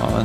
Ja,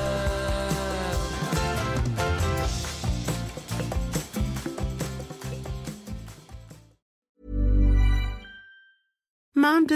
Mom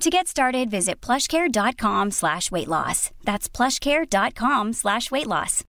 To get started, visit plushcare.com slash weight loss. That's plushcare.com slash weight loss.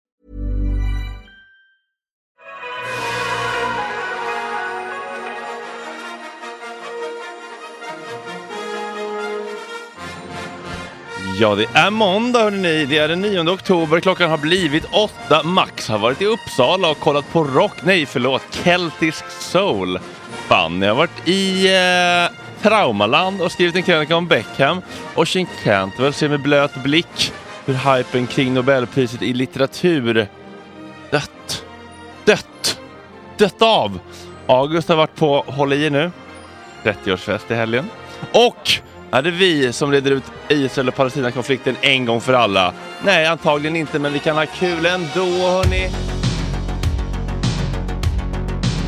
Ja, det är måndag hörni. Det är den 9 oktober. Klockan har blivit åtta. Max har varit i Uppsala och kollat på rock. Nej, förlåt. Keltisk soul. Fanny har varit i eh, Traumaland och skrivit en krönika om Beckham. Och Shin Cantwell ser med blöt blick hur hypen kring Nobelpriset i litteratur dött. Dött. Dött av. August har varit på, håll i er nu, 30-årsfest i helgen. Och är det vi som reder ut Israel och Palestina-konflikten en gång för alla? Nej, antagligen inte, men vi kan ha kul ändå, hörni.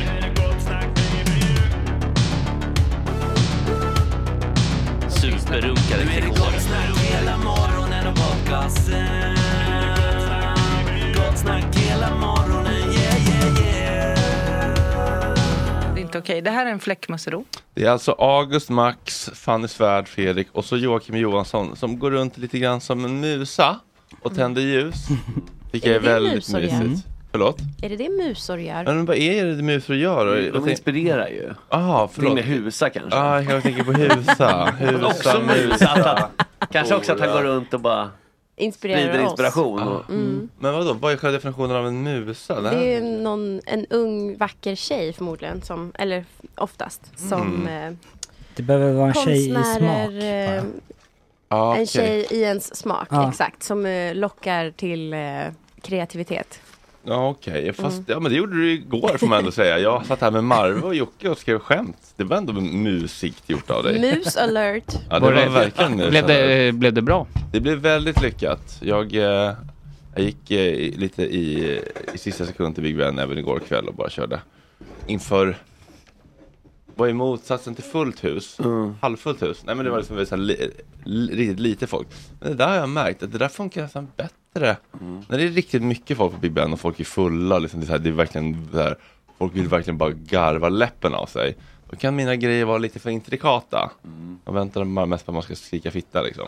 Gott Nu är det gott snack hela morgonen och podcasten. Gott snack hela morgonen, yeah yeah yeah. Det är inte okej. Det här är en fläckmussero. Det är alltså August, Max, Fanny Svärd, Fredrik och så Joakim Johansson som går runt lite grann som en musa och tänder ljus. Vilket är, Är det det väldigt musor gör? Mm. mysigt. Förlåt? Är det det musor gör? Men vad är det musor gör? Och- och Mm, De tänk- inspirerar ju. Aha, Till förlåt. med husa kanske. Ah, jag tänker på husa. husa också musa. Att, att, kanske också att han går runt och bara Inspirerar sprider oss. inspiration. Och, Men vadå, vad är själva definitionen av en musa? Det Det här- är ju någon, en ung vacker tjej förmodligen, som, eller oftast, som eh, Det behöver vara en tjej i smak. konstnärer, eh, bara. Ah, okej. en tjej i ens smak, Ja. exakt, som eh, lockar till eh, kreativitet. Ja, okej. Fast ja, men det gjorde du igår får man ändå säga. Jag satt här med Marve och Jocke och skrev skämt. Det var ändå musigt gjort av dig. Mus alert. Ja, det var verkligen musigt. Ah, blev, det, blev det bra? Det blev väldigt lyckat. Jag, eh, jag gick eh, i- lite i, i sista sekund till Big Ben även igår kväll och bara körde. Inför, vad är motsatsen till fullt hus? Halvfullt hus? Nej men det var liksom så här, li, li, riktigt lite folk. Men det där har jag märkt, att det där funkar nästan bättre. När det är riktigt mycket folk på Big Ben och folk är fulla, liksom, det, är så här, det är verkligen så här, folk vill verkligen bara garva läppen av sig. Då kan mina grejer vara lite för intrikata. Och väntar man mest på att man ska skrika fitta liksom.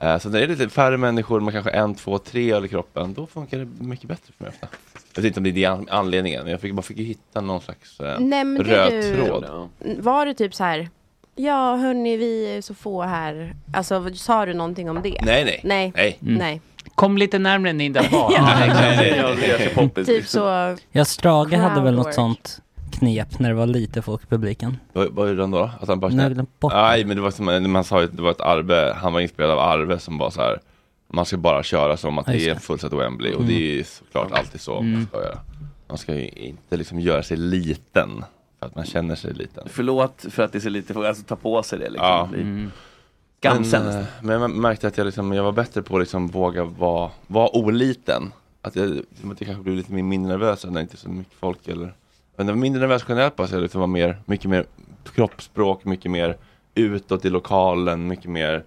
ja. Eh, Så när det är lite färre människor, man kanske en, två, tre öl i kroppen, då funkar det mycket bättre för mig ofta. Jag vet inte om det är det an- anledningen, men jag fick, man fick ju hitta någon slags eh, Nämnde röd du- tråd. Ja. Var det typ så här, ja hörni vi är så få här, alltså sa du någonting om det? Nej, nej. Nej. nej. Nej. Kom lite närmre än ni där var. Jag gör sig poppis. typ så, Ja, Strage hade väl något Crowdwork. sånt knep när det var lite folk i publiken. Vad vad gjorde han då? Att han bara... Nu har jag glömt bort Nej, men det var som, en- man sa ju att det var ett Arve, han var inspelad av Arve som var så här, man ska bara köra som att Ja, just det är det. Mm. en fullsatt Wembley och det är ju såklart alltid så man ska göra. Man ska ju inte liksom göra sig liten, för att man känner sig liten. Förlåt för att det är så lite, för- alltså ta på sig det liksom. Ja. Bli Skamsen men, eh, nästan. men jag märkte att jag, liksom, jag var bättre på att liksom våga vara, vara oliten. Att jag, att jag kanske blev lite mer- mindre nervös när det inte är så mycket folk. Eller, men jag var mindre nervös generellt bara, så jag liksom var mer, mycket mer kroppsspråk, mycket mer utåt i lokalen, mycket mer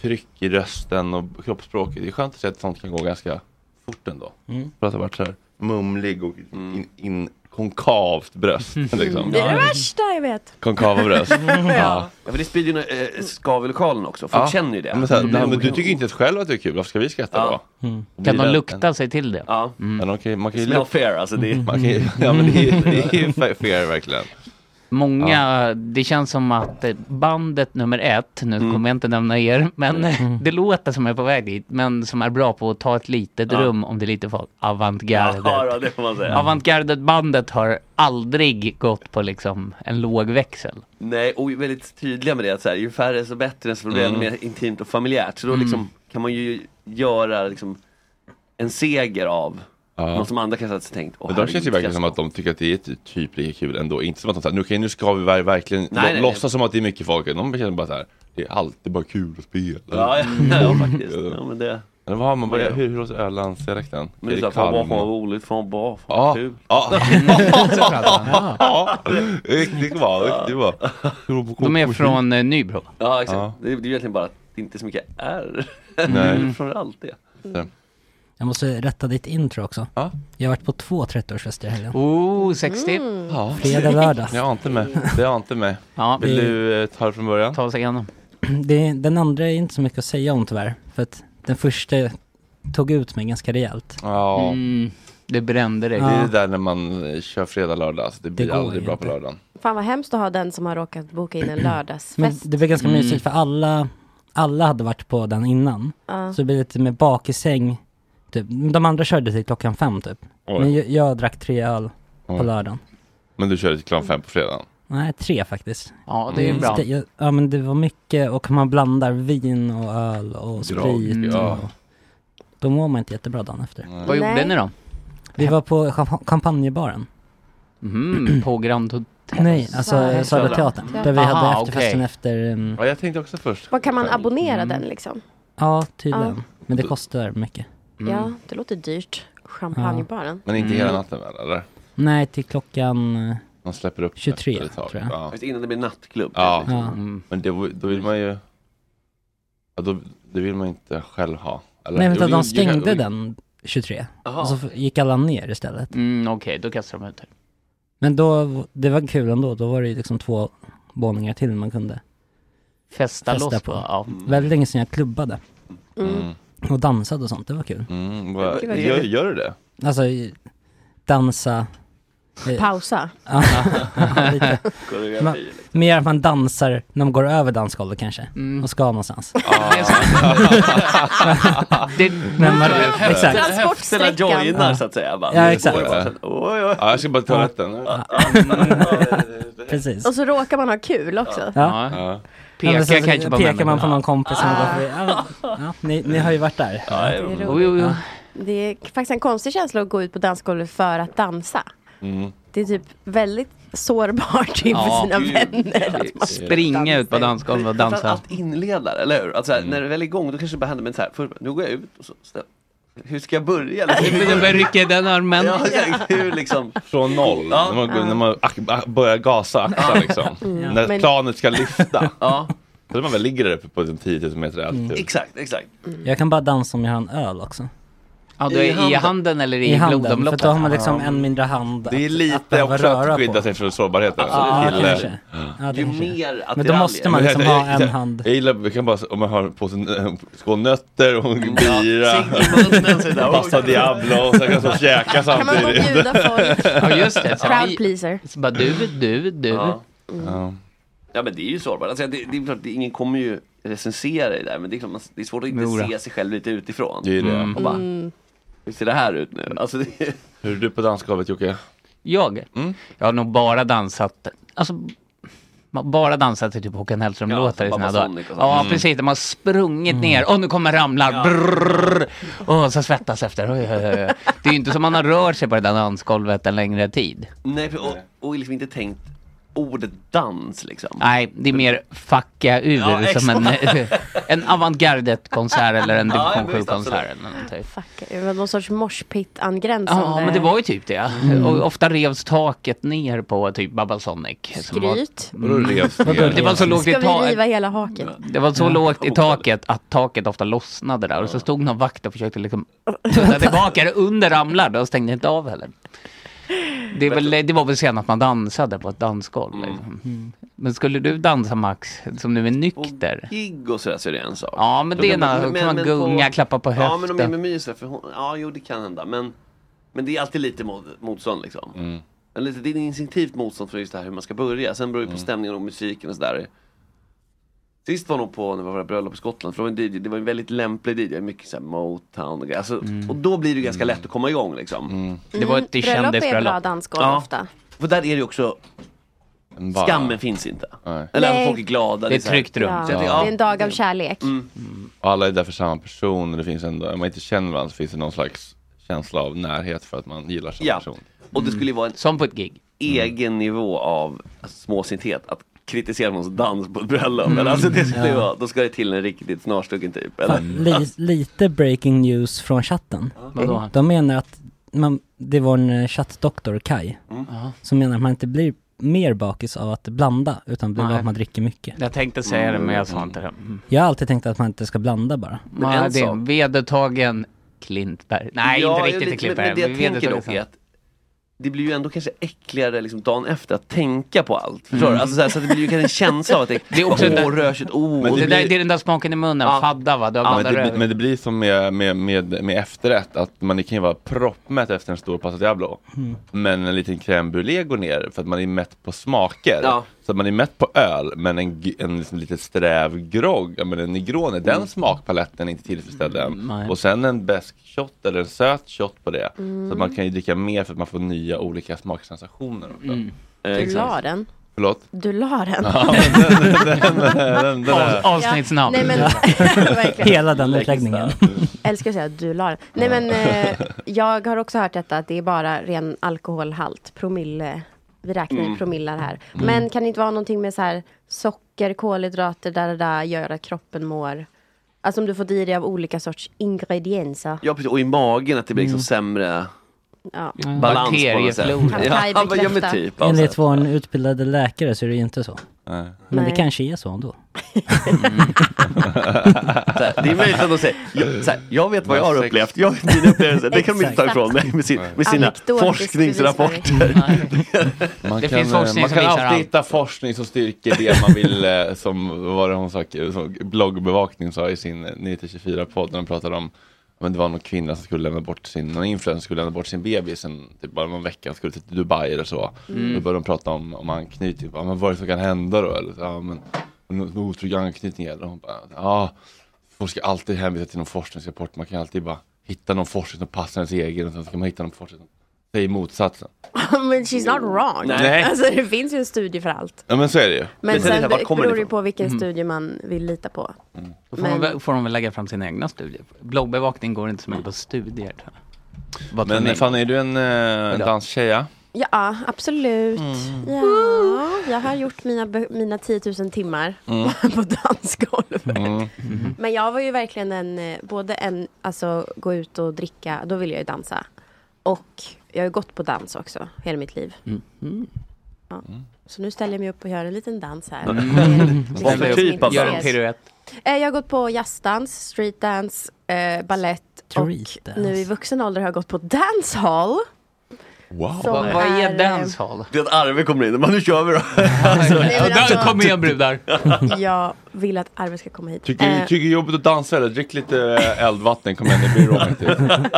tryck i rösten och kroppsspråket. Det är skönt att se att sånt kan gå ganska fort ändå. Mm. För att jag varit så här mumlig och in, in, konkavt bröst. Liksom. det är det värsta jag vet. Konkava bröst. ja. Ja, för det sprider ju eh, skav i lokalen också. Folk Ja. känner ju det. Ja, men så här, Mm. nej, men du tycker inte att själv att det är kul, varför ska vi skratta Ja. då? Mm. Kan Blir de det- lukta sig till det? Ja. Ja, de kan, ju- man kan ju Smell lukta. fair alltså. Det är, Mm. Man kan ju, ja, men det, är, det är ju fa- fair verkligen. Många, det känns som att eh, bandet nummer ett, nu kommer jag inte nämna er, men det låter som är på väg dit, men som är bra på att ta ett litet Ja. rum om det är lite folk. Avantgardet. ja, ja, det får man säga. Avantgardet bandet har aldrig gått på liksom en låg växel. Nej, och är väldigt tydliga med det att så här, ju färre så bättre, så blir det mer intimt och familjärt. Så då liksom, kan man ju göra liksom, en seger av något som andra kanske hade tänkt. Åh, Men de känns ju herregud, verkligen ska som jag att de tycker att det är ty- typ lika kul ändå. Inte som att de säger, nu, kan- nu ska vi ver- verkligen lo- nej, nej. låtsas som att det är mycket folk. De känner bara så här, det är alltid bara kul att spela. stå? Ja, ja, ja faktiskt. Ja, men det, Men vad har man, vad, Ja. hur, hur låter Ölandsdialekten? men det är så här, fan vad fan, vad roligt, fan bra, fan Ja, kul. ja, ja, riktigt bra, riktigt bra. De är från eh, Nybro. Ja, exakt. Ja. Det, det är ju egentligen bara att det inte är så mycket R. Mm. Nej. Framförallt det. Jag måste rätta ditt intro också. Ja. Jag har varit på två 30-årsfester i helgen. Oh, 60. Mm. Ja, Fredag, lördag. jag har inte med, det har jag inte med. Ja, Vill du eh, ta det från början? ta oss igenom. Det, den andra är inte så mycket att säga om tyvärr. För att den första tog ut mig ganska rejält. Ja. Mm, det brände dig. Det är Ja. det där när man eh, kör fredag, lördag, alltså det blir går aldrig bra inte. på lördagen. Fan vad hemskt att ha den som har råkat boka in en Men lördagsfest. det blev ganska Mm. mysigt för alla, alla hade varit på den innan. Så det blev lite med bakisäng. Typ. De andra körde till klockan fem typ. Oj. Men jag, jag drack tre öl på Oj. lördagen. Men du kör till klockan fem på fredagen? Nej, tre faktiskt. Ja, det är Mm. bra. Det- jag- Ja men det var mycket och man blandar vin och öl och sprit ja. och då mår man inte jättebra dagen efter. Vad gjorde Nej. ni då? Vi var på champa- champagnebaren. Mm, på Grand Hotel. Nej, alltså Södra. Södra Teatern. Där vi Aha, hade efterfesten okej. efter, um, Ja, jag tänkte också först. Vad kan man abonnera den liksom? ja tydligen. Men det kostar mycket. Mm. Ja, det låter dyrt. Champagnebaren. Men inte hela natten väl, eller? Nej, till klockan, eh, Man släpper upp 23, efter ett tag. tror jag. Ja. Mm. Mm. Just Innan det blir nattklubb. Ja. Liksom. ja. Men det, då vill man ju Ja, då, det vill man inte själv ha. Eller, Nej jo, vänta, mm. jo, de stängde jo, den 23. Jaha. Och så f- gick alla ner istället. Mm, Okej, då kastar de ut det. Men då, det var kul ändå. Då var det ju liksom två våningar till man kunde Festa, loss på. Ja. Väldigt länge sedan jag klubbade. Mm. Och dansade och sånt, det var kul. Mm, vad- Gud, vad gör, kul. gör du det? Alltså, i- dansa. eh, Pausa. Ja, ja, lite. Koreografi, Man, liksom. mer att man dansar när man går över dansgolvet kanske, Mm. och ska någonstans. Det är sant. Det- Men man, Höfterna- exakt. höfterna joinar, så att säga, bara. Ja, exakt. Ja, jag ska bara ta toaletten. Precis. Och så råkar man ha kul också. Ja. Ja. Pekar Ja, men sen så kanske på Pekar man på människorna. någon kompis som går förbi. Ja, Ah. men- ja, ni, ni har ju varit där. Ja, Det är jo, jo, jo. Det är Eh, faktiskt en konstig känsla att gå ut på dansgolvet för att dansa. Det är typ väldigt sårbart inför Mm. Ja, sina gud. vänner. Att man Springa ut på dansgolvet och Framförallt dansa. Mm. Allt inledare, eller hur? Alltså, När det väl är igång, då kanske det bara händer med så här, först, nu går jag ut och så, så hur ska jag börja? Liksom, hur- Jag börjar rycka i den armen. Ja, exakt. hur liksom? Från noll, när man, går- när man ak- ak- börjar gasa, akta liksom. Mm. När Men- planet ska lyfta. ja. Så man väl ligger där uppe på en 10 000 meter altitude. Exakt, exakt. Jag kan bara dansa om jag har en öl också. Ja, du är I i handen. handen eller i blodomloppet? För då har man liksom Ja. en mindre hand Det är att- att lite behöva också röra att på. skydda sig från sårbarheten. Ja, Som kille. kanske. Ja, det ju kanske. mer att Men då måste man liksom ha en hand. Jag gillar, vi kan bara, om man har en påse en skål nötter och en bira, pasta Diablo, och så kan man stå och käka Kan man gå och samtidigt. bjuda folk? Ja, just det. Så Crowd vi- pleaser. Så bara du, du, du. Ja. Ja men det är ju sårbart. Alltså, det, det är klart, det, ingen kommer ju recensera dig där men det är, klart, man, det är svårt att inte Jodå. se sig själv lite utifrån. Det är det. Och bara, hur ser det här ut nu? Alltså, det, Hur är du på dansgolvet Jocke? Jag? Mm. Jag har nog bara dansat, alltså ma- bara dansat till typ Håkan Hellström-låtar Ja, i sina dagar. Babasonic och sånt. Ja, Mm. precis. De har sprungit ner. Åh, nu kommer ramlar. Brrrr. Åh, så svettas efter. Oj, oj, oj. Det är ju inte som man har rört sig på det där dansgolvet en längre tid. nej, för- och, och liksom inte tänkt ordet dans liksom. Nej, det är mer fucka ur Ja, exakt. som en, en avantgardet-konsert eller en Ja, division visst, 7-konsert. absolut. eller någonting. Det var någon sorts moshpit-angränsande. Ja, men det var ju typ det. Mm. Och ofta revs taket ner på typ Babasonic. som var- Mm. Skryt. Vadå Mm. revs ner? Det var så lågt i Ska vi taket. riva hela haket? Det var så lågt i taket att taket ofta lossnade där och så stod någon vakt och försökte liksom putta tillbaka det under ramlar och stängde inte av heller. Det, är väl, det var väl sen att man dansade på ett dansgolv. Mm. Liksom. Men skulle du dansa Max, som nu är nykter? Gig och sådär så är det en sak. Ja, men det är Då en- då kan man gunga, klappa på Ja, men om jag är höften. med My så här, för hon, ja jo det kan hända. Men, men det är alltid lite mot, motstånd liksom. Men lite, det är instinktivt motstånd för just det här hur man ska börja. Sen beror det på stämningen och musiken och sådär. Sist var nog på när vi var på bröllop i Skottland, för det var en DJ, det var en väldigt lämplig DJ, mycket såhär motown och grejer. alltså, Och då blir det ju ganska lätt att komma igång liksom. Det var ett Mm, bröllop är kändisbröllop. bra dansgolv ofta. För där är det ju också, bar. skammen finns inte. Eller Nej. att folk är glada. Det är så här- tryggt rum. Ja. Så Det jag tänker, är en dag av kärlek. Mm, Och alla är där för samma person och det finns ändå, om man inte känner varandra så finns det någon slags känsla av närhet för att man gillar samma Ja, person. och det skulle ju vara en Mm. Som på ett gig. Mm. egen nivå av småsinthet att kritisera någons dans på ett bröllop. Mm, Eller, alltså, det skulle ju Ja. vara, då ska det till en riktigt snarstucken typ. Eller? Li, lite breaking news från chatten. Vadå? De menar att, man, det var en eh, chattdoktor, Kai, Mm. Jaha. som menar att man inte blir mer bakis av att blanda, utan blir av Nej. att man dricker mycket. Jag tänkte säga det men jag sa inte det. Mm. Jag har alltid tänkt att man inte ska blanda bara. Men ja, en det är sak- en vedertagen Klintberg. Nej, Ja, jag inte riktigt vet, en Klintberg. Men, men det jag tänker Vedertagen. dock är att det blir ju ändå kanske äckligare liksom dagen efter att tänka på allt. Förstår Mm. du? Alltså, så, här, så att det blir ju kanske en känsla av att det, Det är också åh, den där- rörsigt, oh. det, och det där, blir- det är den där smaken i munnen, Ja. fadda va? Du har Ja, men, blandat det, röv. men det blir som med, med, med, med efterrätt, att man kan ju vara proppmätt efter en stor pasta Diablo. Mm. Men en liten crème brûlée går ner för att man är mätt på smaker. Ja. Så att man är mätt på öl, men en, g- en liksom lite sträv grogg, ja men en Negroni, den smakpaletten är inte tillfredsställd än. nej. Och sen en besk shot eller en söt shot på det. Mm. Så att man kan ju dricka mer för att man får nya olika smaksensationer också. Eh, Du exakt. la den. Förlåt? Du la den. Ja, men den, den, den, den, den Avs- avsnittsnamn. Ja, nej, men- verkligen. Hela den utläggningen. Älskar att säga att du la den. Nej men eh, jag har också hört detta att det är bara ren alkoholhalt, promille. Vi räknar i Mm. promillar här. Mm. Men kan det inte vara någonting med så här socker, kolhydrater, där, där, där gör att kroppen mår. Alltså om du får i dig av olika sorts ingredienser. Ja precis, och i magen att det blir liksom Mm. sämre Ja. balans på något sätt. Bakterieflora. Ja, Kan Kai men- ja, men bekräfta? typ. Alltså. Enligt vår utbildade läkare så är det ju inte så. Nej. Men Nej. det kanske är så ändå. Så här, det är möjligt att de säger, jag, så här, jag vet vad jag har Sex. upplevt, jag vet dina upplevelser, det kan de inte ta Exakt. ifrån mig med, sin, med sina Anekdotisk forskningsrapporter. Man Det kan, finns eh, forskning man som kan visar alltid allt. hitta forskning som styrker det man vill, eh, som vad var det hon sa, som bloggbevakning sa i sin eh, 9-24-podd när de pratade om men det var någon kvinna som skulle lämna bort sin, någon influencer skulle lämna bort sin bebis en, typ bara någon vecka, skulle till Dubai eller så. Mm. Då började de prata om, om anknytning, bara, men vad är det som kan hända då? Eller, så, ja, men, någon otrygg anknytning eller? Och Hon bara, ja, folk ska alltid hänvisa till någon forskningsrapport, man kan alltid bara hitta någon forskning som passar ens egen och sen ska man hitta någon forskning som säger motsatsen. Men she's not wrong. Nej. Alltså det finns ju en studie för allt. Ja men så är det ju. Men sen sen lite, var kommer beror det det på vilken Mm. studie man vill lita på. Då får, de Men- väl, får de väl lägga fram sina egna studier. Bloggbevakning går inte så mycket på studier. tror jag. Vad tror Men ni? Fanny, är du en, eh, en Idag. danstjej? ja? Ja, absolut. Ja, jag har gjort mina, be- mina 10 000 timmar Mm. på dansgolvet. Mm. Men jag var ju verkligen en, eh, både en, alltså gå ut och dricka, då ville jag ju dansa. Och jag har ju gått på dans också, hela mitt liv. Mhm. Ja. Så nu ställer jag mig upp och gör en liten dans här. liksom Vad för typ av Gör en dans? piruett. Eh, Jag har gått på jazzdans, streetdance, eh, ballett och Streetdance. nu i vuxen ålder har jag gått på dancehall. Wow. Som Vad vad är eh, dancehall? Det är att Arve kommer in, men nu kör vi då. Nej, men Där alltså, kommer jag brudar! jag vill att Arve ska komma hit. Tycker, Eh, tycker det är jobbigt att dansa eller drick lite eh, eldvatten, kom igen det blir roligt.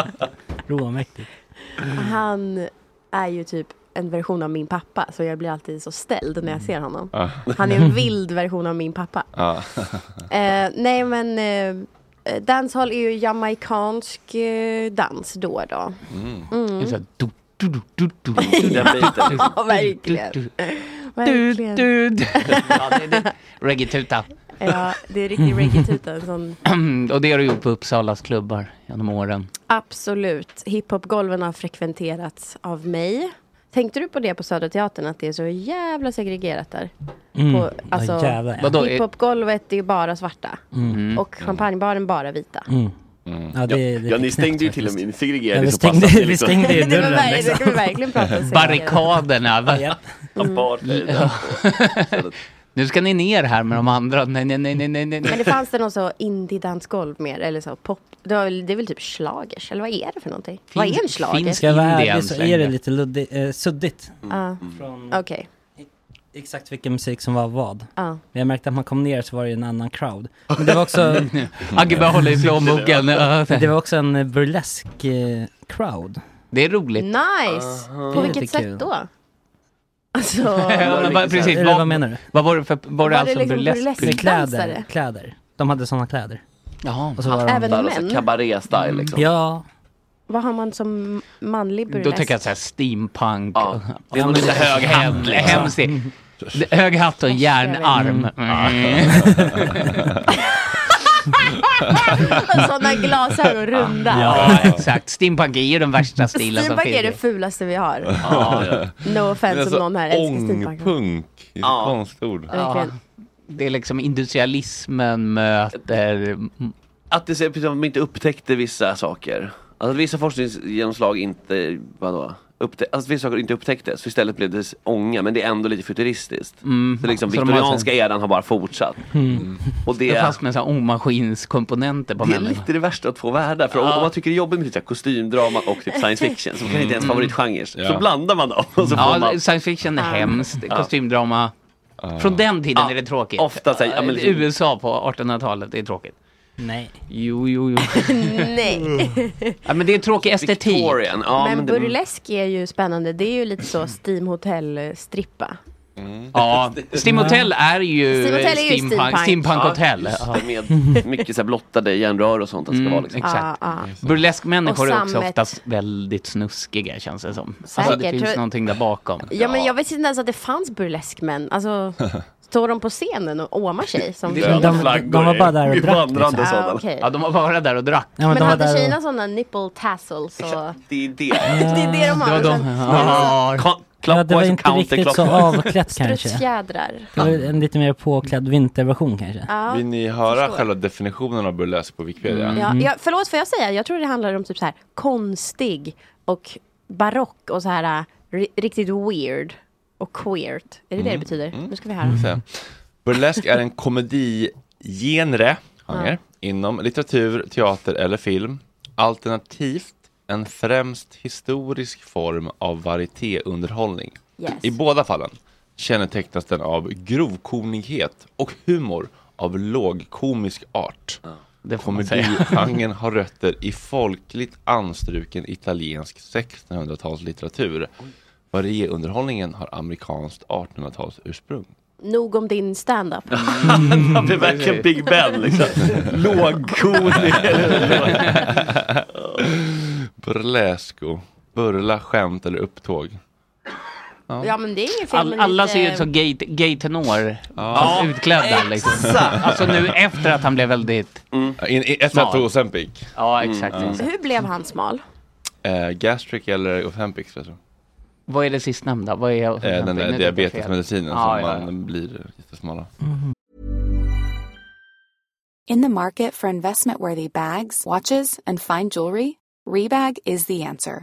Råmäktigt. Han är ju typ en version av min pappa, så jag blir alltid så ställd när jag ser honom. Ah. Han är en vild version av min pappa. Ja. Eh, nej, men eh, dancehall är ju jamaicansk eh, dans då då. Det är så här, du, du, du, du, du, du, Den biten. Ja, verkligen. du, du, verkligen. du, du. Ja, det- det- Reggae-tuta. Ja, det är riktig reggae-tuta. en sån- Och det har du gjort på Uppsalas klubbar genom åren. Absolut. Hiphopgolven har frekventerats av mig. Tänkte du på det på Södra Teatern, att det är så jävla segregerat där? Mm. På, alltså, Ja, jävlar. ja. Vadå? är- Hiphopgolvet är ju bara svarta. Mm. Och champagnebaren bara vita. Ja, det, det Ja, är ni knäppt stängde ju till och faktiskt. med, ni Ja, segregerade vi så pass att stängde, ni vi liksom- stängde ju Det, var, dörren. ver- det Liksom. kan vi verkligen prata om. Barrikaderna. va? Ja. Apartheid. Nu ska ni ner här med de andra. Nej, nej, nej, nej, nej, nej. Men det fanns det någon så indie-dansgolv mer, eller så pop. Det var väl, det är väl typ schlagers, eller vad är det för någonting? vad är en Finns- schlager? finns- Ska jag vara In det ärlig än så så är det länge. lite luddigt, eh, suddigt. Ja, Mm. Från Ah, Okej, exakt vilken musik som var vad. ja. Men jag märkte att man kom ner så var det en annan crowd. Men det var också, Agge bara håller i plånboken. det var också en eh, burlesk eh, crowd. Det är roligt. Nice! Det På är vilket lite sätt kul. då? Alltså, Ja, men vad- precis, Eller vad, vad menar du? vad var det för, var det det alltså liksom burlesk? burlesk? Med kläder, Dansare. kläder. De hade sådana kläder. Jaha. Och så var de, även Där, alltså, män? Cabaret-style liksom. ja, Vad har man som manlig burlesk? Då tänker jag såhär steampunk. Ja. Det är nog lite hög liksom. Mm. hatt. Hemskt. Det- Hög hatt och järnarm. Mm. Sådana glasögon runda. Ja, exakt. Steampunk är ju den värsta stilen som Steampunk är det finns. fulaste vi har. Ja, ja. No offense alltså, om någon här älskar steampunk. ångpunk, det är ett Ja. konstigt ord. Ja, Verkligen. det är liksom industrialismen möter... Att det ser precis som att de inte upptäckte vissa saker. Alltså att vissa forskningsgenomslag inte, vadå? Upptä- alltså att vissa saker inte upptäcktes, så istället blev det s- ånga, men det är ändå lite futuristiskt. Mm. Så liksom Så de har viktorianska eran har bara fortsatt. Och det, Fast med så här omaskinskomponenter på det är människan. lite det värsta av två världar. För om, om man tycker det är jobbigt med typ så här kostymdrama och typ science fiction, som kanske inte är ens favoritgenre, Ja. så blandar man dem och så får Mm. Ja, man science fiction är hemskt. Kostymdrama. Från den tiden Ja, är det tråkigt. Eh, ofta så här, ja, men liksom- USA på 1800-talet, det är tråkigt. nej. Jo, jo, jo. Nej. ja, men det är tråkig estetik. Victorian. Ja, Men det- burlesk är ju spännande. Det är ju lite så steamhotell-strippa. Ja, Steam Hotel är ju Steam Hotel är ju steampunk- steampunk. Steampunk Ja, Hotel. just Ja. Mm, det, Med mycket så här blottade järnrör och sånt att det ska vara liksom. Ja, Exakt. ja. Burleskmänniskor Och är också sammet. oftast väldigt snuskiga känns det som. Alltså, Säkert. det finns Tror- någonting där bakom. ja, men jag visste inte ens att det fanns burleskmän. Alltså, står de på scenen och åmar sig? Som Det är tjejer? alla de- flaggor eh. de var bara är- där och är drack, Vandrande liksom. sådana. Ah, okej. Ja, de var bara där och drack. Ja, Men de var hade där tjejerna och, sådana nipple tassels? Och... Det är det. Det är det de Det har. var de. Sen Ja. Kon- ja, det var Clockwise och inte riktigt så counterclockwise. avklätt kanske. Strutsfjädrar. Det var en lite mer påklädd vinterversion kanske. Ja. Vill ni höra förstår. själva definitionen av burlesk på Wikipedia? Mm. Ja, ja, förlåt, får jag säga? Jag tror det handlar om typ så här konstig och barock och så här äh, ri- riktigt weird. och queert. Är det det det Mm, betyder? Nu ska vi Ska här. säga. Burlesk är en komedigenre genre, Ja. inom litteratur, teater eller film. Alternativt en främst historisk form av varietéunderhållning. Yes. I båda fallen kännetecknas den av grovkornighet och humor av lågkomisk art. det får man säga. Komedigenren har rötter i folkligt anstruken italiensk 1600-talslitteratur. Varieunderhållningen har amerikanskt 1800-tals ursprung. Nog om din stand-up. det är verkligen Big Ben liksom. Lågkonig. Burlesco. Burla, skämt eller upptåg. Ja. men det är inget fel All, med eh, alla lite- ser ut som gay- gay-tenor, fast Ja, utklädda. Liksom. exakt. Mm. Alltså nu efter att han blev väldigt... In, i, efter att Smal. tog Ozempic. Ja, exakt, Mm, exakt. Hur blev han smal? Eh, gastric eller Ozempic. Alltså. Vad är det sistnämnda? Vad är Eh, den Nu vet där jag diabetesmedicinen fel. som Ja, ja, ja. man blir jättesmala. In the market for investment worthy bags, watches, and fine jewelry, Rebag is the answer.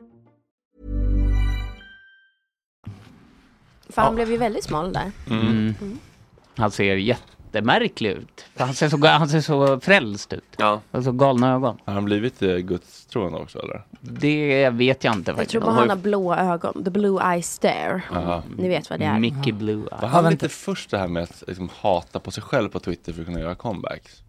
För han blev ju väldigt smal där. Mm. Mm. Han ser jättemärklig ut. För Han ser så, han ser så frälst ut. Ja. Och så galna ögon. Har han blivit eh, gudstroende också eller? Det vet jag inte Jag faktiskt. tror bara han har blå ögon. The blue eye stare. Aha. Ni vet vad det är. Mickey Blue Eye. Var han inte först det här med att liksom, hata på sig själv på Twitter för att kunna göra comebacks?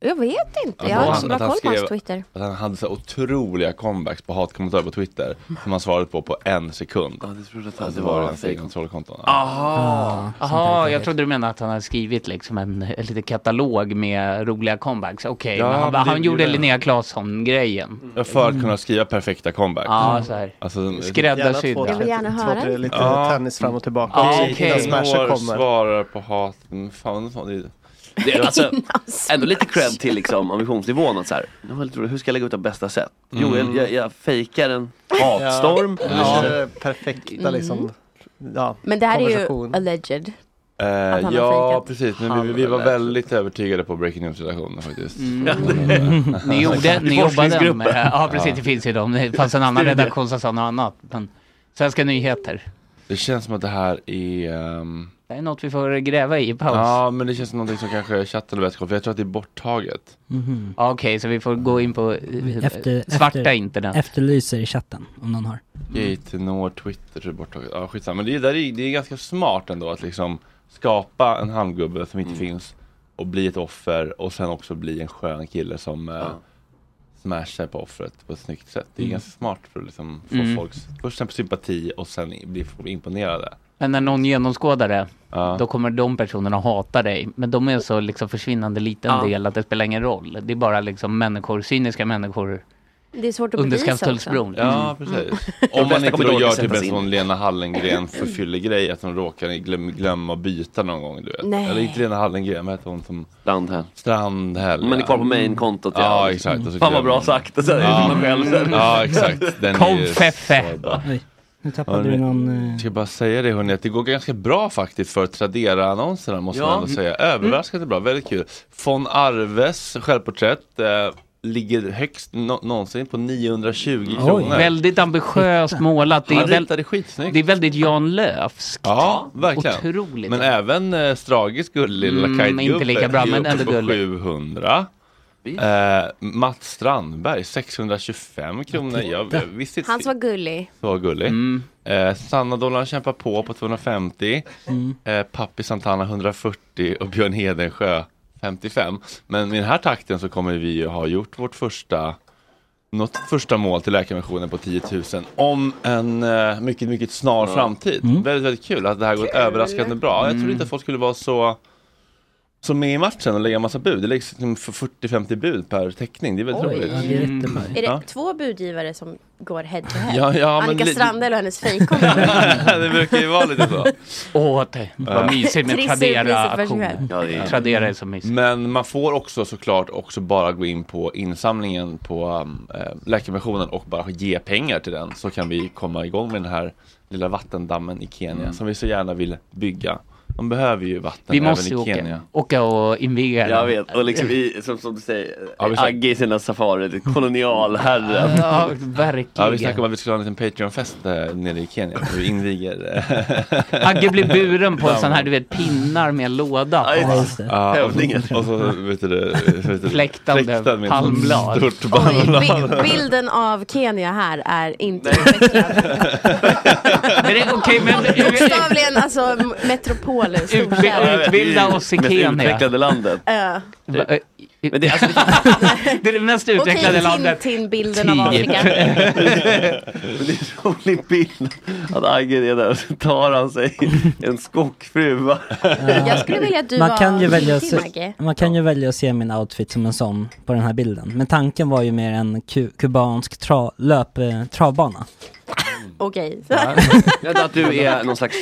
Jag vet inte. Jag Att har han- inte så bra att han koll på hans skrev Twitter. Att han hade så här otroliga comebacks på hatkommentarer på Twitter som han svarade på på en sekund. Ja, det trodde att det var hans egen trollkonton. Aha. Ja, Ah. Aha, sånt jag trodde du menade att han hade skrivit liksom en, en liten katalog med roliga comebacks. Okej, Ja, men han, men det Mm. han är gjorde ju det. Linnea Claesson-grejen. Ja, För att kunna skriva perfekta comebacks. Ja, så här. Alltså, Skräddarsydda. Jag vill gärna höra Två, tre, det. lite Ja. tennis fram och tillbaka. Ja, Och så okej. innan Smasher Kvinnor kommer. svarar på hat. Men Fan, fan, det är... Det är alltså, ändå lite cred till liksom, ambitionsnivån. Att så här, nu har jag lite roligt, hur ska jag lägga ut det bästa sätt? Jo, jag, Mm. jag, jag fejkar en hatstorm. Ja, Ja. det är det perfekta liksom. Ja, Men det här är ju konversation. alleged. Eh, han har ja, fejkat. precis. Men vi, vi var väldigt övertygade på Breaking News-redaktionen faktiskt. Mm. ni gjorde, ni jobbade ändå med det. här. Ja, precis. Ja. Det finns ju de. Det fanns en annan Studier. redaktion som sa något annat. Men Svenska nyheter. Det känns som att det här är... ehm, Det är något vi får gräva i i paus. Ja, men det känns som någonting som kanske chatten har vetskap för jag tror att det är borttaget. Ja, Okej, så vi får gå in på eh, Efter, svarta efter, internet. Efterlyser i chatten om någon har. Gate, Nor, Twitter tror jag är borttaget. Ja, skitsamma. Men det, är- där är, det är ganska smart ändå att liksom skapa en halmgubbe som inte Mm. finns och bli ett offer och sen också bli en skön kille som eh, smashar på offret på ett snyggt sätt. Det är Mm. ganska smart för att liksom få Mm. folks, först en sympati och sen i- bli bli imponerade. Men när någon genomskådar det, då kommer de personerna hata dig. Men de är så liksom försvinnande liten Ja. del att det spelar ingen roll. Det är bara liksom människor, cyniska människor Det är svårt att under bevisa också. Skanstullsbron. Ja, Mm. precis. De Om man flesta inte kommer då ihåg gör att typ sätta en sig in. sån Lena Hallengren förfyller grej att hon råkar glöm, glömma byta någon gång, du vet. Nej. Eller inte Lena Hallengren, vad heter hon som... Strandhäll. Strandhäll, Man är kvar på main-kontot, ja. ja. Ja, exakt. Och Fan så vad glömmer bra hon. sagt. Och så här, ja. man själv sen. ja, exakt. Den är ju Konfeffe. sårbar. Nu tappade du någon... eh, Jag ska bara säga det hörni, att det går ganska bra faktiskt för Tradera-annonserna måste Ja. man ändå säga. Överraskande bra, väldigt kul. Von Arves självporträtt eh, ligger högst nå- någonsin på 920 kronor. Väldigt ambitiöst målat. Han ritade väl, det är väldigt Jan Löfskt. Ja, verkligen. Otroligt. Men även eh, Strages gullig lilla Mm, kajtgubbe inte lika bra, är men uppe ändå på gullig. 700. Eh, Mats Strandberg 625 kronor. Jag, jag visste inte Han som var gullig. så gullig. Eh, Sanna Dolan kämpar på på 250. Eh, Pappi Santana 140 och Björn Hedensjö 55. Men i den här takten så kommer vi ju ha gjort vårt första något första mål till Läkarmissionen på 10 000 om en eh, mycket, mycket snar Ja. framtid. Väldigt, väldigt kul att det här går överraskande bra. Jag trodde inte att folk skulle vara så som med i matchen och lägga massa bud. Det läggs liksom 40-50 bud per teckning. Det är väldigt Oj. roligt. Ja, det är Är det Ja. två budgivare som går head to head? Ja, ja, men Annika li- Strandell och hennes fejkkonto. det brukar ju vara lite så. Åh, det Ja. var mysigt med Trist är priset för Tradera-auktionen. sig själv. Tradera är så mysigt. Men man får också såklart också bara gå in på insamlingen på um, eh, Läkarmissionen och bara ge pengar till den så kan vi komma igång med den här lilla vattendammen i Kenya Mm. som vi så gärna vill bygga. De behöver ju vatten Vi måste ju även i åka, Kenya. åka och inviga Jag vet, och liksom i, som, som du säger, Ja, vi sa- Agge i sina safarier, kolonialherren. Ja, verkligen. Ja, vi snackade om att vi skulle ha en liten Patreon-fest eh, nere i Kenya. där Vi inviger... eh, Agge blir buren på en sån här, du vet, pinnar med en låda. Ja, och, så- och så vet du, vet du, Fläktande med ett sånt palmblad. Stort Bi- palmblad. bilden av Kenya här är inte Men det är okej, bokstavligen alltså m- metropoler, storstäder. Utbilda oss i Mest Kenya. utvecklade landet. Ja. Va- eh, Det är det mest Okej, utvecklade landet. Tintin-bilden av Typ. Afrika. Men det är en rolig bild att Agge är där och så tar han sig en skockfru. Jag skulle vilja att du man var kan, ju välja att Tintin, se, Maggie. man kan ju välja att se min outfit som en sån på den här bilden. Men tanken var ju mer en ku- kubansk tra, löp, eh, travbana. Okej. Jag tror att du är någon slags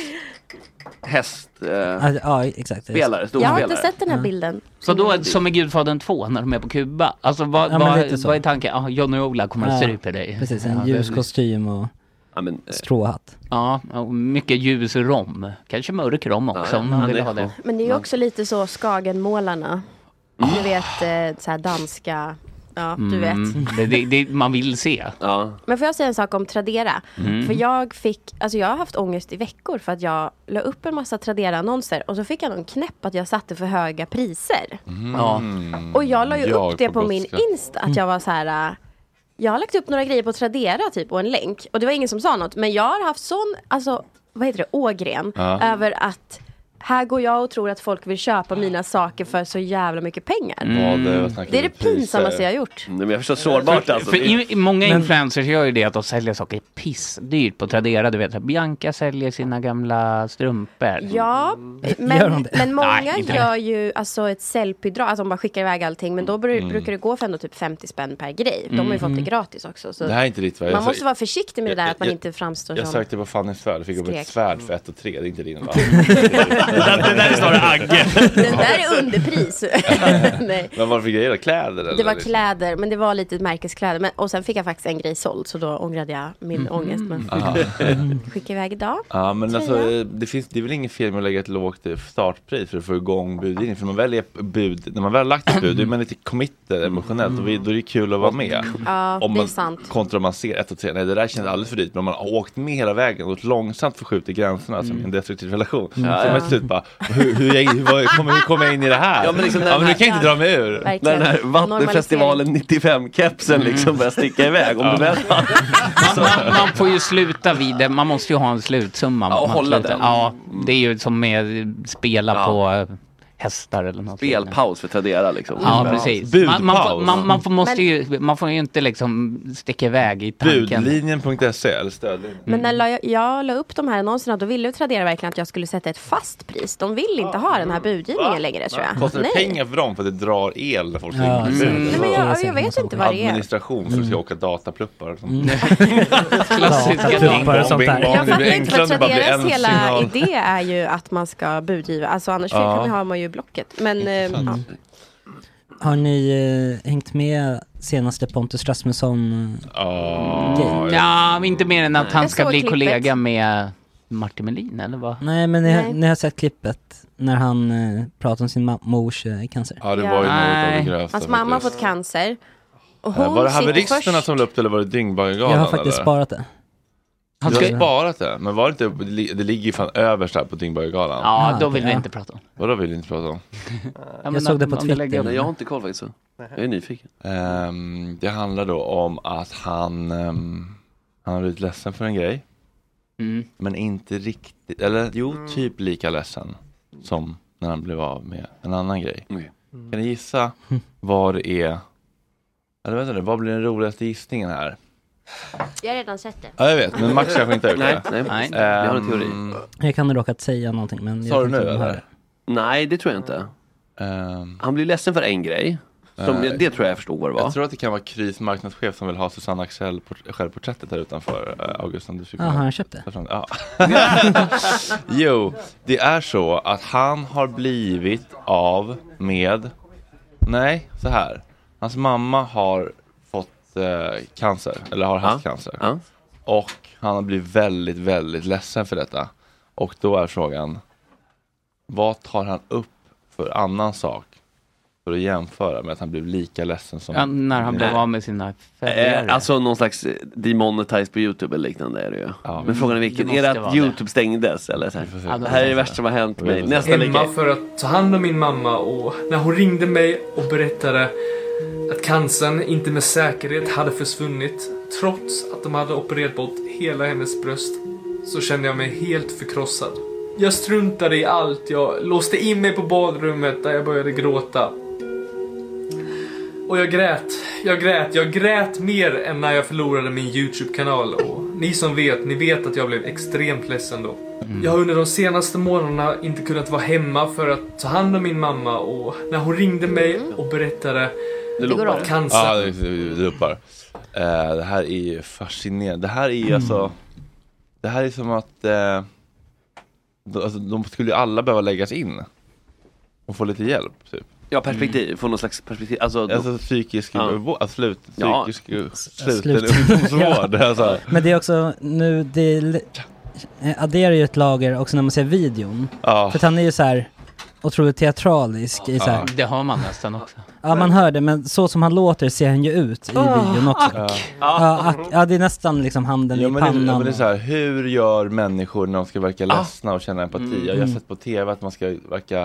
häst... Eh, Ja, ja, exakt. Spelare, Jag har inte sett den här bilden. Så då, som i Gudfadern 2 när de är på Kuba. Alltså vad, Ja, men lite vad, så. vad är tanken? Ah, Johnny Ola kommer att Ja, strypa dig. Precis, Ja, en det- ljus kostym och eh, stråhatt. Ja, och mycket ljus rom. Kanske mörk rom också om man vill ha det. Men det är ju också lite så Skagenmålarna. Du vet, eh, så här danska. Ja, du vet. Mm, Det, det, det man vill se. Ja. Men får jag säga en sak om Tradera? Mm. För jag fick, alltså jag har haft ångest i veckor för att jag la upp en massa Tradera-annonser och så fick jag någon knäpp att jag satte för höga priser. Ja. Och jag la ju upp det på, min brottskatt. Insta, att jag var så här. äh, Jag har lagt upp några grejer på Tradera typ och en länk. Och det var ingen som sa något. Men jag har haft sån, alltså vad heter det, ågren. Ja. Över att här går jag och tror att folk vill köpa mina saker för så jävla mycket pengar. Mm. Mm. det är det pinsammaste jag har gjort. Nej, men jag förstår sårbart alltså. För i, i många influencers gör ju det att de säljer saker pissdyrt på Tradera. Du vet, Bianca säljer sina gamla strumpor. Ja, Mm. Gör men, de det? men många Nej, inte. gör ju alltså ett säljbidrag, alltså de bara skickar iväg allting. Men då bru- Mm. brukar det gå för ändå typ 50 spänn per grej. De har ju fått det Mhm. gratis också. Så Det här är inte ditt va? Jag man sa- måste vara försiktig med det där att man jag- inte framstår Jag som... sökte på Fannys svärd och fick upp Skrek. ett svärd för 1 och 3, det är inte din va? det där är snarare Agge. Det där är underpris. Nej. Vad var det för grejer då? Kläder? Eller? liksom? Det var kläder, men det var lite märkeskläder. Men, och sen fick jag faktiskt en grej såld, så då ångrade jag min Mm. ångest. Men Aha. Ah. skicka iväg idag. Ja men alltså Tröja. eh, det, finns, det är väl inget fel med att lägga ett lågt eh, startpris för att få igång budgivningen. För man väljer ett bud, när man väl har lagt ett bud då är man lite committed emotionellt och vi- då är det kul att vara med. Mm. Ja, Om det är man sant. kontra om man ser ett och tre, nej det där känns alldeles för dyrt. Men om man har åkt med hela vägen och långsamt förskjutit gränserna som i en destruktiv relation. Mm. Så är Ja. man till slut bara, hur, hur, jag, hur, vad- kommer- hur kommer jag in i det här? Ja, men liksom när den nu här- kan jag inte dra mig ur. När den här vattenfestivalen 95-kepsen liksom börjar sticka iväg. Om Ja. du väl Man, man får ju sluta vid det. Man måste ju ha en slutsumma. Ja, och man hålla slutar. den. Ja, det är ju som med spela Ja. på eh, hästar eller något. Spelpaus för Tradera liksom. Ja, precis. Man, man, får- man, man, får, måste ju, man får ju inte liksom sticka iväg i tanken. Budlinjen.se E, eller stödlinjen. Men när la jag, jag la upp de här annonserna, då ville ju Tradera verkligen att jag skulle sätta ett fast pris. De vill inte ha den här budgivningen längre tror jag. Ah. Kostar det pengar för dem för att det drar el när folk Ja, ringer? exakt. Mm. Nej, men jag- jag vet inte vad det är. Administration för att Mm. ska åka datapluppar. Klassiska Datapluppar och Mm. sånt där. Jag Det fattar blir inte för enklare när det bara blir Traderas en hela signal. idé är ju att man ska budgiva. Alltså annars Ja. kan- har man ju blocket. Men eh, ja. Har ni eh, hängt med senaste Pontus Rasmusson? eh, Ja, men inte mer än att han Jag ska såg bli klippet. kollega med Martin Melin, eller vad? Nej men ni, Nej. Har, ni har sett klippet när han eh, pratar om sin ma- mors eh, cancer? Ja, det var ju något av Nej. det grövsta. Hans mamma har faktiskt. fått cancer. Och Eh, hon Var det sitter haveristerna först- som la upp det eller var det Dyngbaggegalan? Jag har faktiskt eller? sparat det. Alltså, Du har Han ska- sparat det, men var det inte, det li- det ligger ju fan överst här på Dyngbaggegalan. Ja, Ah, då vill okej, vi ja. inte prata om. Vadå vill du inte prata om? men såg det på om- om det Twitter. lägger upp- Nej, jag har inte koll faktiskt. så Jag är nyfiken. Ehm, det handlar då om att han, ehm, han har blivit ledsen för en grej. Mm. Men inte riktigt, eller jo, Mm. typ lika ledsen som när han blev av med en annan grej. Kan ni gissa vad det är? Eller vänta nu, vad blir den roligaste gissningen här? Jag har redan sett det. Ja, jag vet, men Max kanske inte har gjort Nej, det. nej. Jag har en teori. Ehm, Jag kan ha råkat säga någonting men... Sa jag du nu tänkte bara- eller? Nej, det tror jag inte. Han blir ledsen för en grej. Som, Nej. det tror jag jag förstod vad det var. Ehm, Jag tror att det kan vara Krys marknadschef som vill ha Susanne Axel port- självporträttet här utanför eh, August. om Du fick Ja, har han köpt det? Ja. jo, det är så att han har blivit av med, nej, så här. Hans mamma har fått eh, cancer, eller har haft cancer. Och han har blivit väldigt, väldigt ledsen för detta. Och då är frågan, vad tar han upp för annan sak för att jämföra med att han blev lika ledsen som... Ja, när han blev Nej. av med sina följare. Eh, alltså någon slags eh, demonetized på Youtube eller liknande är det ju. Men frågan är vilken. Det måste Är det att vara det. Youtube stängdes? Eller så här? Ja, då det här är får det vi värsta se. som har hänt Vi mig. får se. Nästa Hemma vecka. för att ta hand om min mamma och när hon ringde mig och berättade att cancern inte med säkerhet hade försvunnit trots att de hade opererat bort hela hennes bröst så kände jag mig helt förkrossad. Jag struntade i allt, jag låste in mig på badrummet där jag började gråta. Och jag grät, jag grät, jag grät mer än när jag förlorade min YouTube-kanal och ni som vet, ni vet att jag blev extremt ledsen då. Mm. Jag har under de senaste månaderna inte kunnat vara hemma för att ta hand om min mamma och när hon ringde mig och berättade att cancer... Ja, det, det, det loopar. Eh, det här är ju fascinerande. Det här är ju Mm. alltså... Det här är som att... eh, de, alltså, de skulle ju alla behöva läggas in. Och få lite hjälp, typ. Ja, perspektiv. Få någon slags perspektiv. Alltså, då- Alltså psykisk... Ja. Ja. Slut, Ja. psykisk eh, Slut. sluten ungdomsvård. alltså. Men det är också nu, det l- eh, adderar ju ett lager också när man ser videon. Ja. Ah. För att han är ju så här otroligt teatralisk i så här. Det har man nästan också. Ja man hör det, men så som han låter ser han ju ut i Ah, videon också. ack. Ja. Ja, ack. ja det är nästan liksom handen Ja, i men det, pannan. ja, men det är så här, hur gör människor när de ska verka ledsna och känna empati? Mm. Jag har Mm. sett på tv att man ska verka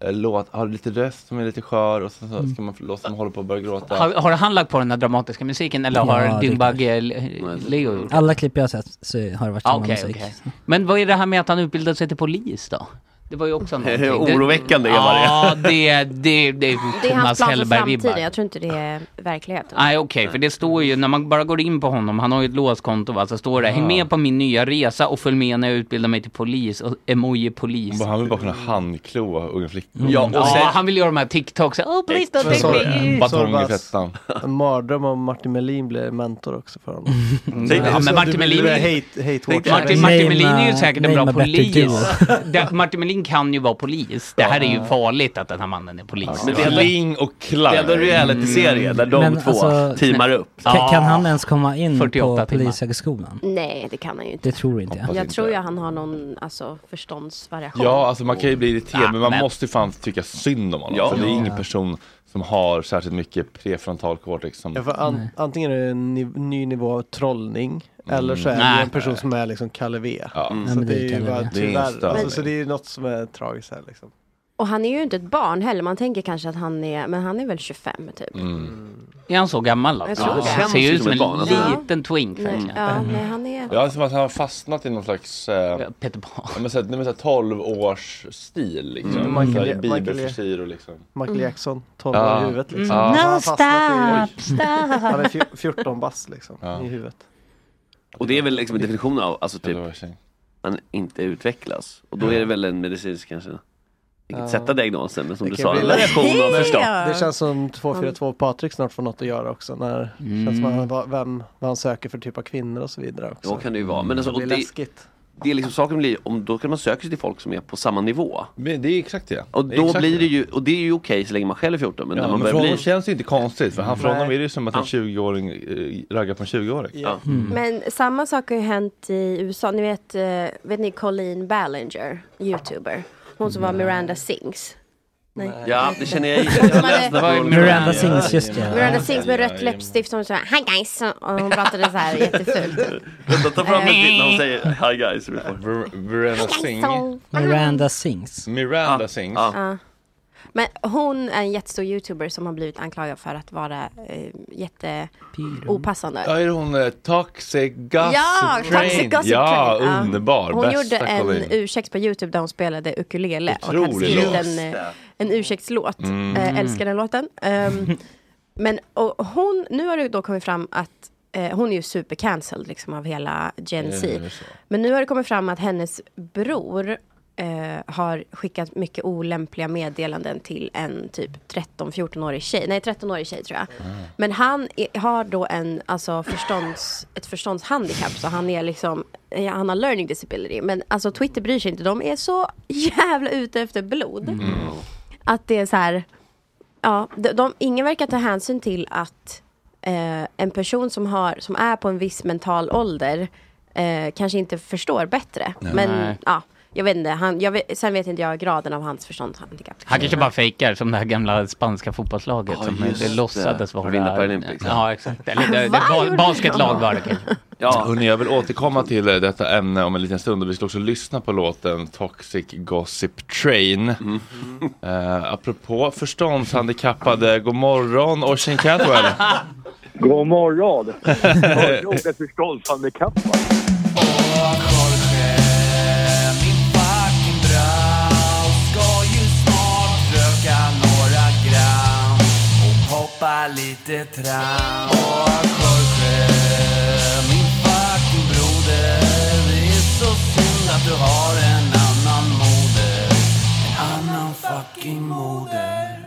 eh, låt, ha lite röst som är lite skör och sen så Mm. ska man låta som håller på att börja gråta. Har, har han lagt på den här dramatiska musiken eller Ja, har det- Dyngbagge Le- Leo gjort det? Alla klipp jag har sett så har det varit Ah, samma okej, musik. okej. Men vad är det här med att han utbildade sig till polis då? Det var ju också någonting. Det- Oroväckande, Eva, det. Ja, det, det, det är Det är hans Thomas plan för Hellberg-vibbar. framtiden. Jag tror inte det är Ah. verkligheten. Nej okej, för det står ju, när man bara går in på honom, han har ju ett låskonto va, så står det häng med på min nya resa och följ med när jag utbildar mig till polis och emoji polis. Han vill bara kunna handkloa unga flickor. Mm. Ja, och sen- han vill göra de här TikToks, oh please don't Men så- take me. så var det Batong i bara fettan. En mardröm om Martin Melin blev mentor också för honom. Ja, men Så Martin du Melin- blev hate, hate watcher. Martin, Martin Melin är ju säkert en bra name a better polis. Det, Martin Melin kan ju vara polis. Det här är ju farligt att den här mannen är polis. Men det är ändå- Kling och Klang. det är ändå en reality-serie där de två teamar upp. alltså, Kan, kan han ens komma in på 48 timmar. Polishögskolan? Nej, det kan han ju inte. Det tror inte jag. Jag tror ju han har någon alltså, förståndsvariation. Ja, alltså man kan ju bli irriterad Ah, men man men- måste ju fan tycka synd om honom. Ja. För det är Ja. ingen person som har särskilt mycket prefrontal cortex som... Ja, för an, antingen är det en ny, ny nivå av trollning eller så är Nej. det en person som är liksom Kalle V. Ja. Så Nej, men det det är är ju Kalle V. bara Det är ingen tyvärr. störning. Alltså, så det är ju något som är tragiskt här liksom. Och han är ju inte ett barn heller. Man tänker kanske att han är, men han är väl 25 typ. Mm. Är han så gammal? Alltså? Jag tror det. Han ser ju ut som en barn, alltså. liten twink. Nej, verkligen. ja, nej, han är... Ja, det är som att han har fastnat i någon slags... Eh, Peter Pan. Ja, men såhär, nej, men såhär 12 års stil liksom. Mm. Mm. Michael- Bibelfrisyr och liksom. Michael Mm. Jackson, 12 år Ja. i huvudet liksom. Så Mm. No, han har fastnat i- stop, stop. Han är fj- 14 bass liksom i huvudet. Och det är väl liksom definitionen av, alltså typ, man inte utvecklas. Och då är det väl en medicinsk kanske, Ja. vilket sätta diagnosen, men som Det du kan sa, bli en lätt. reaktion av förstånd. Det känns som 242 Patrik snart får något att göra också. När, Mm. känns som han, vad, vem, vad han söker för typ av kvinnor och så vidare. Också. Då kan det ju vara. Men alltså, det blir och det- läskigt. det är liksom saken blir, om då kan man söka sig till folk som är på samma nivå. Men det är exakt det. Och då Exakt blir det ju, och det är ju okej så länge man själv är 14 men Ja, när man men börjar för bli... honom känns det inte konstigt för han, för honom Nej. är det ju som att en Ja. 20-åring eh, raggar på en 20-åring. Mm. Men samma sak har ju hänt i USA. Ni vet, eh, vet ni Colleen Ballinger, youtuber? Hon som var Miranda Sings. Nej. Ja, det känner jag igen. Som Jag hade- läste på- Miranda Sings, just det. Miranda Sings med rött läppstift som så här, hi guys, och hon pratade så här jättefult. Vänta, ta fram Eh. det när hon säger şey, hi guys. Miranda Sing. Så- Miranda Sings. Miranda Sings. Ja. Men hon är en jättestor youtuber som har blivit anklagad för att vara eh, jätte opassande. Ja, är hon eh, Toxic Gossip Ja, Train? Toxic Gossip ja, Train. Ja. underbar. Hon Bästa gjorde en Colleen. ursäkt på Youtube där hon spelade ukulele och hade Otrolig skrivit låt. en, eh, en ursäktslåt. Mm. Eh, älskar den låten. Ehm, men och hon, nu har det då kommit fram att eh, hon är ju supercancelled liksom av hela Gen Z. Är det så? Men nu har det kommit fram att hennes bror eh, har skickat mycket olämpliga meddelanden till en typ 13-14-årig tjej. Nej, 13-årig tjej tror jag. Mm. Men han är, har då en, alltså förstånds, ett förståndshandikapp. Så han är liksom, ja, han har learning disability. Men alltså Twitter bryr sig inte. De är så jävla ute efter blod. Mm. Att det är så här, ja, de, de, ingen verkar ta hänsyn till att eh, en person som, har, som är på en viss mental ålder eh, kanske inte förstår bättre. Nej. Men ja, jag vet inte, han, jag vet, sen vet inte jag graden av hans förståndshandikapp. Han kanske bara fejkar som det här gamla spanska fotbollslaget som just det det. låtsades vara... För att vinna på Olympics. Ja, exakt. Eller det, det, ba- basketlag var det kanske. Ja. Hörrni, jag vill återkomma till eh, detta ämne om en liten stund och vi ska också lyssna på låten Toxic Gossip Train. Eh, apropå förståndshandikappade, god morgon Oisin Cantwell. God morgon! Förordet förståndshandikappad. Hoppa lite tram Och Jorge, min fucking broder Det är så synd att du har en annan moder En annan fucking moder